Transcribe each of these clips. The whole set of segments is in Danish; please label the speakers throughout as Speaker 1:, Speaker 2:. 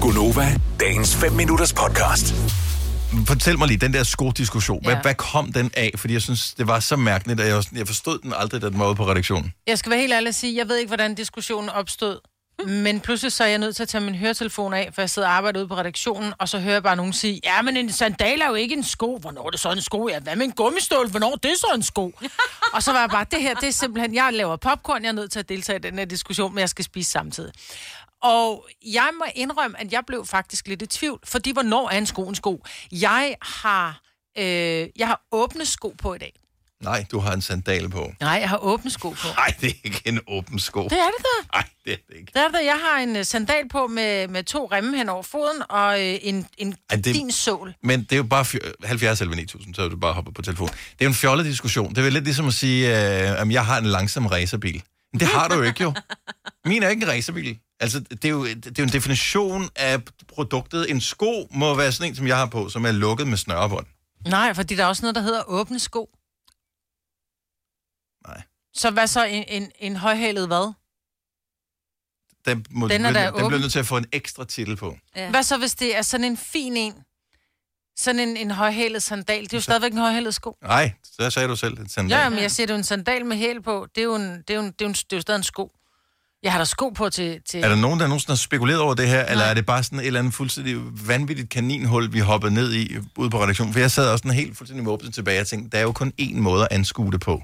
Speaker 1: Gunova, dagens 5 minutters podcast.
Speaker 2: Fortæl mig lige, den der skodiskussion, ja.
Speaker 3: Ja.
Speaker 2: hvad, hvad kom den af? Fordi jeg synes, det var så mærkeligt, at jeg, var sådan- jeg forstod den aldrig, da den var ude på redaktionen.
Speaker 3: Jeg skal være helt ærlig og sige, jeg ved ikke, hvordan diskussionen opstod. Men pludselig så er jeg nødt til at tage min høretelefon af, for jeg sidder og arbejder ude på redaktionen, og så hører jeg bare nogen sige, ja, men en sandal er jo ikke en sko. Hvornår er det så en sko? Ja, hvad med en gummistål? Hvornår er det så en sko? og så var jeg bare, det her, det er simpelthen, jeg laver popcorn, jeg er nødt til at deltage i den her diskussion, men jeg skal spise samtidig. Og jeg må indrømme, at jeg blev faktisk lidt i tvivl, fordi hvornår er en sko en sko? Jeg har, øh, jeg har åbne sko på i dag.
Speaker 2: Nej, du har en sandal på.
Speaker 3: Nej, jeg har åbne sko på.
Speaker 2: Nej, det er ikke en åben sko.
Speaker 3: Det er det da.
Speaker 2: Nej, det er det ikke.
Speaker 3: Der er det, jeg har en øh, sandal på med, med to remme hen over foden og øh, en, en
Speaker 2: Ej, det-
Speaker 3: det... din sål.
Speaker 2: Men det er jo bare fj- 70 eller 9000, så er du bare hopper på telefon. Det er jo en fjollet diskussion. Det er vel lidt ligesom at sige, øh, at jeg har en langsom racerbil. Men det har du jo ikke jo. Min er ikke en racerbil. Altså, det er, jo, det er jo en definition af produktet. En sko må være sådan en, som jeg har på, som er lukket med snørebånd.
Speaker 3: Nej, fordi der er også noget, der hedder åbne sko.
Speaker 2: Nej.
Speaker 3: Så hvad så en, en, en højhælet hvad?
Speaker 2: Den, må,
Speaker 3: Den er
Speaker 2: den,
Speaker 3: da
Speaker 2: den bliver
Speaker 3: åben.
Speaker 2: nødt til at få en ekstra titel på.
Speaker 3: Ja. Hvad så, hvis det er sådan en fin en? Sådan en, en højhælet sandal. Det er jo stadigvæk en højhælet sko.
Speaker 2: Nej, så sagde du selv. En sandal.
Speaker 3: Ja, men jeg siger, det er jo en sandal med hæl på. Det er jo, en, det er jo, en, det er jo, en, det er jo stadig en sko. Jeg har da sko på til... til...
Speaker 2: Er der nogen, der nogensinde har spekuleret over det her, Nej. eller er det bare sådan et eller andet fuldstændig vanvittigt kaninhul, vi hoppede ned i ude på redaktionen? For jeg sad også sådan helt fuldstændig med åbent tilbage og tænkte, der er jo kun én måde at anskue det på.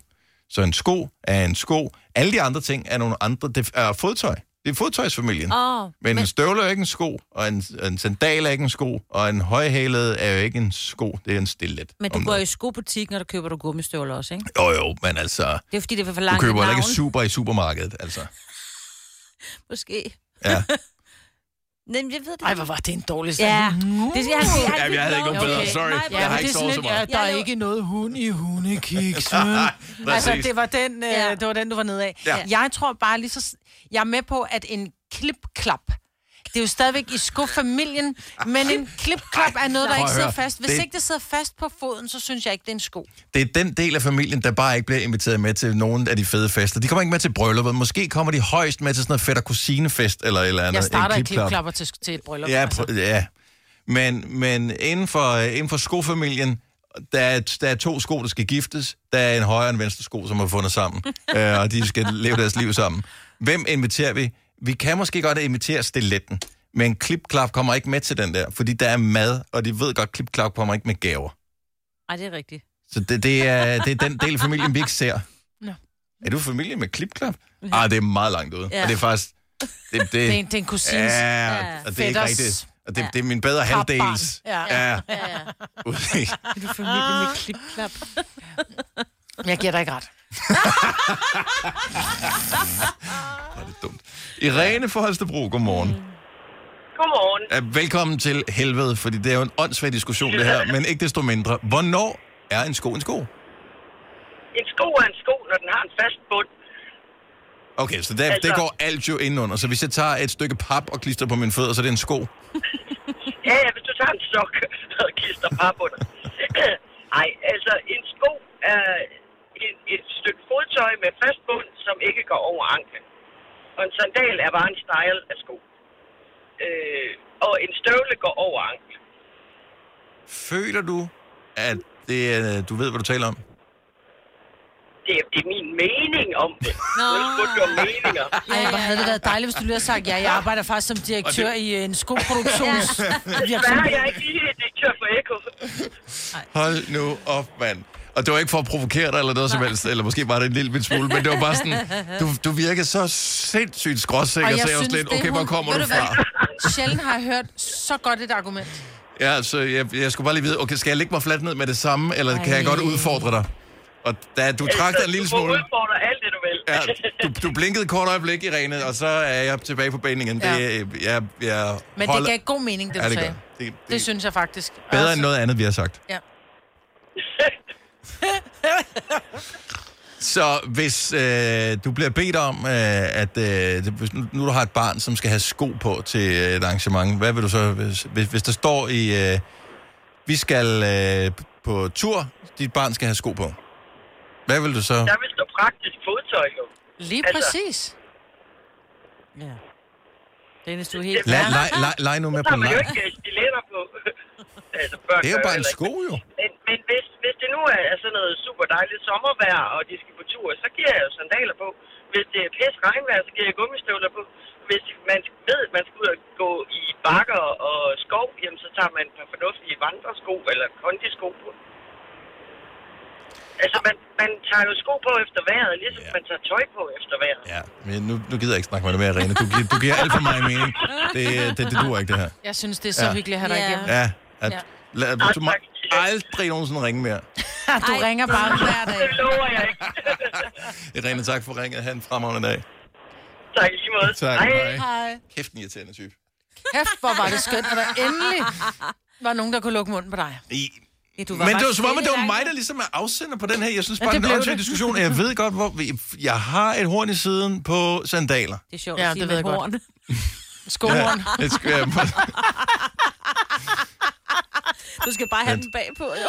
Speaker 2: Så en sko er en sko. Alle de andre ting er nogle andre. Det er fodtøj. Det er fodtøjsfamilien.
Speaker 4: Åh,
Speaker 2: men, men en støvle er ikke en sko, og en, en sandal er ikke en sko, og en højhælet er jo ikke en sko. Det er en stillet.
Speaker 4: Men
Speaker 2: om
Speaker 4: du går
Speaker 2: noget.
Speaker 4: i skobutikken, og der køber du gummistøvler også, ikke?
Speaker 2: Jo, jo, men altså...
Speaker 4: Det er fordi, det er for
Speaker 2: Du
Speaker 4: langt
Speaker 2: køber heller
Speaker 4: navn.
Speaker 2: ikke super i supermarkedet, altså.
Speaker 4: Måske.
Speaker 2: Ja.
Speaker 3: Mm.
Speaker 4: Nej, men jeg ved det
Speaker 3: Ej,
Speaker 4: ikke.
Speaker 3: hvor var det en dårlig
Speaker 4: Ja.
Speaker 3: sandal.
Speaker 4: Det, jeg, har, jeg, har
Speaker 2: Jamen, jeg havde ikke nogen
Speaker 4: lov-
Speaker 2: bedre. Sorry.
Speaker 4: Nej,
Speaker 2: Jeg
Speaker 3: Ja,
Speaker 2: har
Speaker 3: men
Speaker 2: ikke
Speaker 3: det er
Speaker 2: sovet
Speaker 3: sådan
Speaker 2: så
Speaker 3: lidt,
Speaker 2: meget.
Speaker 3: at der
Speaker 4: Jeg
Speaker 3: er
Speaker 4: lå-
Speaker 3: ikke noget hund i hundekiks, vel? altså,
Speaker 2: Ah, Præcis.
Speaker 3: det var den, øh,
Speaker 4: Ja.
Speaker 3: det var den, du var nede af.
Speaker 2: Ja.
Speaker 3: Ja. Jeg tror bare lige så... s- Jeg er med på, at en klipklap, det er jo stadigvæk i skofamilien, men en klipklap er noget, der
Speaker 2: Prøv
Speaker 3: ikke
Speaker 2: at
Speaker 3: sidder
Speaker 2: høre.
Speaker 3: fast. Hvis
Speaker 2: Det-
Speaker 3: det... ikke det sidder fast på foden, så synes jeg ikke, det er en sko.
Speaker 2: det er den del af familien, der bare ikke bliver inviteret med til nogen af de fede fester. De kommer ikke med til brylluppet. Måske kommer de højst med til sådan noget fætter kusinefest eller et eller andet.
Speaker 3: Jeg starter
Speaker 2: En
Speaker 3: i
Speaker 2: klipklap.
Speaker 3: klipklapper til, til et bryllup.
Speaker 2: Ja,
Speaker 3: altså.
Speaker 2: pr- ja. Men, men inden, for, øh, inden for skofamilien, der er, der er to sko, der skal giftes. Der er en højre og en venstre sko, som har fundet sammen. øh, og de skal leve deres liv sammen. Hvem inviterer vi? Vi kan måske godt invitere stiletten. Men klipklap kommer ikke med til den der, fordi der er mad, og de ved godt, at klipklap kommer ikke med gaver.
Speaker 4: Nej, det er rigtigt.
Speaker 2: Så det, det, er, det er den del af familien, vi ikke ser.
Speaker 3: Nå.
Speaker 2: Er du familie med klipklap? Ah, det er meget langt ude. Ja.
Speaker 4: Ja.
Speaker 2: Og det er faktisk... Det, det,
Speaker 3: Det er, en- det er en kusins. Ja.
Speaker 2: ja, og det er ikke
Speaker 3: Fætters.
Speaker 2: rigtigt. Og det,
Speaker 4: Ja.
Speaker 2: det er min bedre
Speaker 3: Papbarn.
Speaker 2: halvdels.
Speaker 3: Ja. Ah.
Speaker 2: ja.
Speaker 4: Ja, ja.
Speaker 2: Ude-
Speaker 4: Du familie med klipklap.
Speaker 3: Jeg giver dig ikke ret.
Speaker 2: Hvor er det dumt. Irene fra Holstebro, godmorgen.
Speaker 5: Godmorgen.
Speaker 2: Mm. Velkommen til helvede, fordi det er jo en åndssvag diskussion, det her. Men ikke desto mindre. Hvornår er en sko en sko?
Speaker 5: En sko er en sko, når den har en fast bund.
Speaker 2: Okay, så der,
Speaker 5: Altså-
Speaker 2: det går alt jo indenunder. Så hvis jeg tager et stykke pap og klister på mine fødder, så er det en sko.
Speaker 5: Ja, ja, hvis du tager en stok og kister par på dig. Ej, altså en sko er et, et stykke fodtøj med fast bund, som ikke går over anklen. Og en sandal er bare en style af sko. Øh, og en støvle går over anklen.
Speaker 2: Føler du, at det, er- du ved, hvad du taler om?
Speaker 5: Det, er- det er min mening om det.
Speaker 4: Nå.
Speaker 5: Nu spurgte du om meninger.
Speaker 3: Ej, hvor havde det været dejligt, hvis du lige havde sagt, ja, jeg arbejder faktisk som direktør i øh, en skoproduktions...
Speaker 5: Desværre er jeg ikke lige direktør for Eko.
Speaker 2: Hold nu op, mand. Og det var ikke for at provokere dig eller noget som helst, eller måske var det en lille bit smule, men det var bare sådan, du, du virker så sindssygt skråsikker,
Speaker 3: Og
Speaker 2: så
Speaker 3: jeg
Speaker 2: jeg var
Speaker 3: synes,
Speaker 2: sådan lidt,
Speaker 3: det,
Speaker 2: okay, hvor
Speaker 3: hun-
Speaker 2: kommer
Speaker 3: ved
Speaker 2: du
Speaker 3: du hvad?
Speaker 2: fra?
Speaker 3: Sjældent har jeg hørt så godt et argument.
Speaker 2: Ja, så jeg, jeg skulle bare lige vide, okay, skal jeg lægge mig fladt ned med det samme, eller Ej. kan jeg godt udfordre dig? Og da du trak dig en lille
Speaker 5: Du må
Speaker 2: smule,
Speaker 5: udfordre alt det, du vil.
Speaker 2: ja, du, du blinkede et kort øjeblik i renet, og så er jeg tilbage på banen igen. Det,
Speaker 3: Ja.
Speaker 2: jeg, jeg, jeg
Speaker 3: Men
Speaker 2: holder,
Speaker 3: det gav god mening, det du
Speaker 2: ja, det, gør.
Speaker 3: sagde.
Speaker 2: det, det,
Speaker 3: Det, synes jeg faktisk.
Speaker 2: bedre end
Speaker 3: Altså,
Speaker 2: noget andet, vi har sagt.
Speaker 3: Ja.
Speaker 2: Så hvis øh, du bliver bedt om, øh, at øh, det- hvis nu, nu du har et barn, som skal have sko på til øh, et arrangement, hvad vil du så, hvis, hvis, hvis der står i, øh, vi skal øh, på tur, dit barn skal have sko på. Hvad vil du så?
Speaker 5: Der vil stå
Speaker 4: Altså.
Speaker 5: praktisk fodtøj, jo.
Speaker 3: Lige
Speaker 5: Altså-
Speaker 3: præcis.
Speaker 4: Ja. Dennis, du er helt
Speaker 2: Lad,
Speaker 4: klar.
Speaker 2: leg, leg, leg nu med
Speaker 5: Så
Speaker 2: på
Speaker 5: har man
Speaker 2: leg.
Speaker 5: jo ikke øh, stiletter på. altså, børn
Speaker 2: Det er jo
Speaker 5: gør
Speaker 2: bare en
Speaker 5: heller ikke
Speaker 2: sko, jo.
Speaker 5: Men, men hvis, hvis det nu er, er sådan noget super dejligt sommervejr, og de skal på tur, så giver jeg jo sandaler på. Hvis det er pisse regnvejr, så giver jeg gummistøvler på. Hvis man ved, at man skal ud og gå i bakker og skov, jamen så tager man et par fornuftige vandresko eller kondisko på. Altså, man, man tager jo sko på efter vejret, ligesom
Speaker 2: Ja.
Speaker 5: man tager tøj på efter vejret.
Speaker 2: Ja, men nu, nu gider jeg ikke snakke med dig mere, Rene. Du, gi- du giver alt for mig mening. Det, det, det duer ikke, det her.
Speaker 3: Jeg synes, det er så
Speaker 2: Ja.
Speaker 3: ja. hyggeligt at have dig
Speaker 4: Ja.
Speaker 3: igennem.
Speaker 2: Ja, at,
Speaker 3: Ja.
Speaker 2: lad, du må aldrig nogensinde ringe mere.
Speaker 3: Ja, du
Speaker 4: Ej,
Speaker 3: ringer bare hver dag.
Speaker 5: Det lover jeg ikke.
Speaker 2: Rene, tak for ringet. Ha' en fremragende dag.
Speaker 5: tak i lige måde.
Speaker 2: Tak. Hej.
Speaker 3: Hej.
Speaker 2: Kæft, en irriterende type.
Speaker 3: Kæft, hvor var det skønt, at der endelig var nogen, der kunne lukke munden på dig.
Speaker 2: I,
Speaker 4: Ja, du
Speaker 2: men
Speaker 4: bare
Speaker 2: det var som om, at det var
Speaker 4: stille,
Speaker 2: mig,
Speaker 4: ikke?
Speaker 2: der ligesom er afsender på den her. Jeg synes
Speaker 3: Ja,
Speaker 2: bare, ja,
Speaker 3: det
Speaker 2: det er
Speaker 3: blev
Speaker 2: en åndssvag
Speaker 3: det.
Speaker 2: diskussion, og jeg ved godt, hvor... vi- Jeg har et horn i siden på sandaler.
Speaker 4: Det er sjovt
Speaker 3: Ja,
Speaker 4: at sige
Speaker 3: det
Speaker 4: det
Speaker 3: ved
Speaker 4: med
Speaker 3: jeg godt.
Speaker 4: horn.
Speaker 3: Skolen.
Speaker 2: Det skal jeg...
Speaker 4: Du skal bare have den bagpå, jo.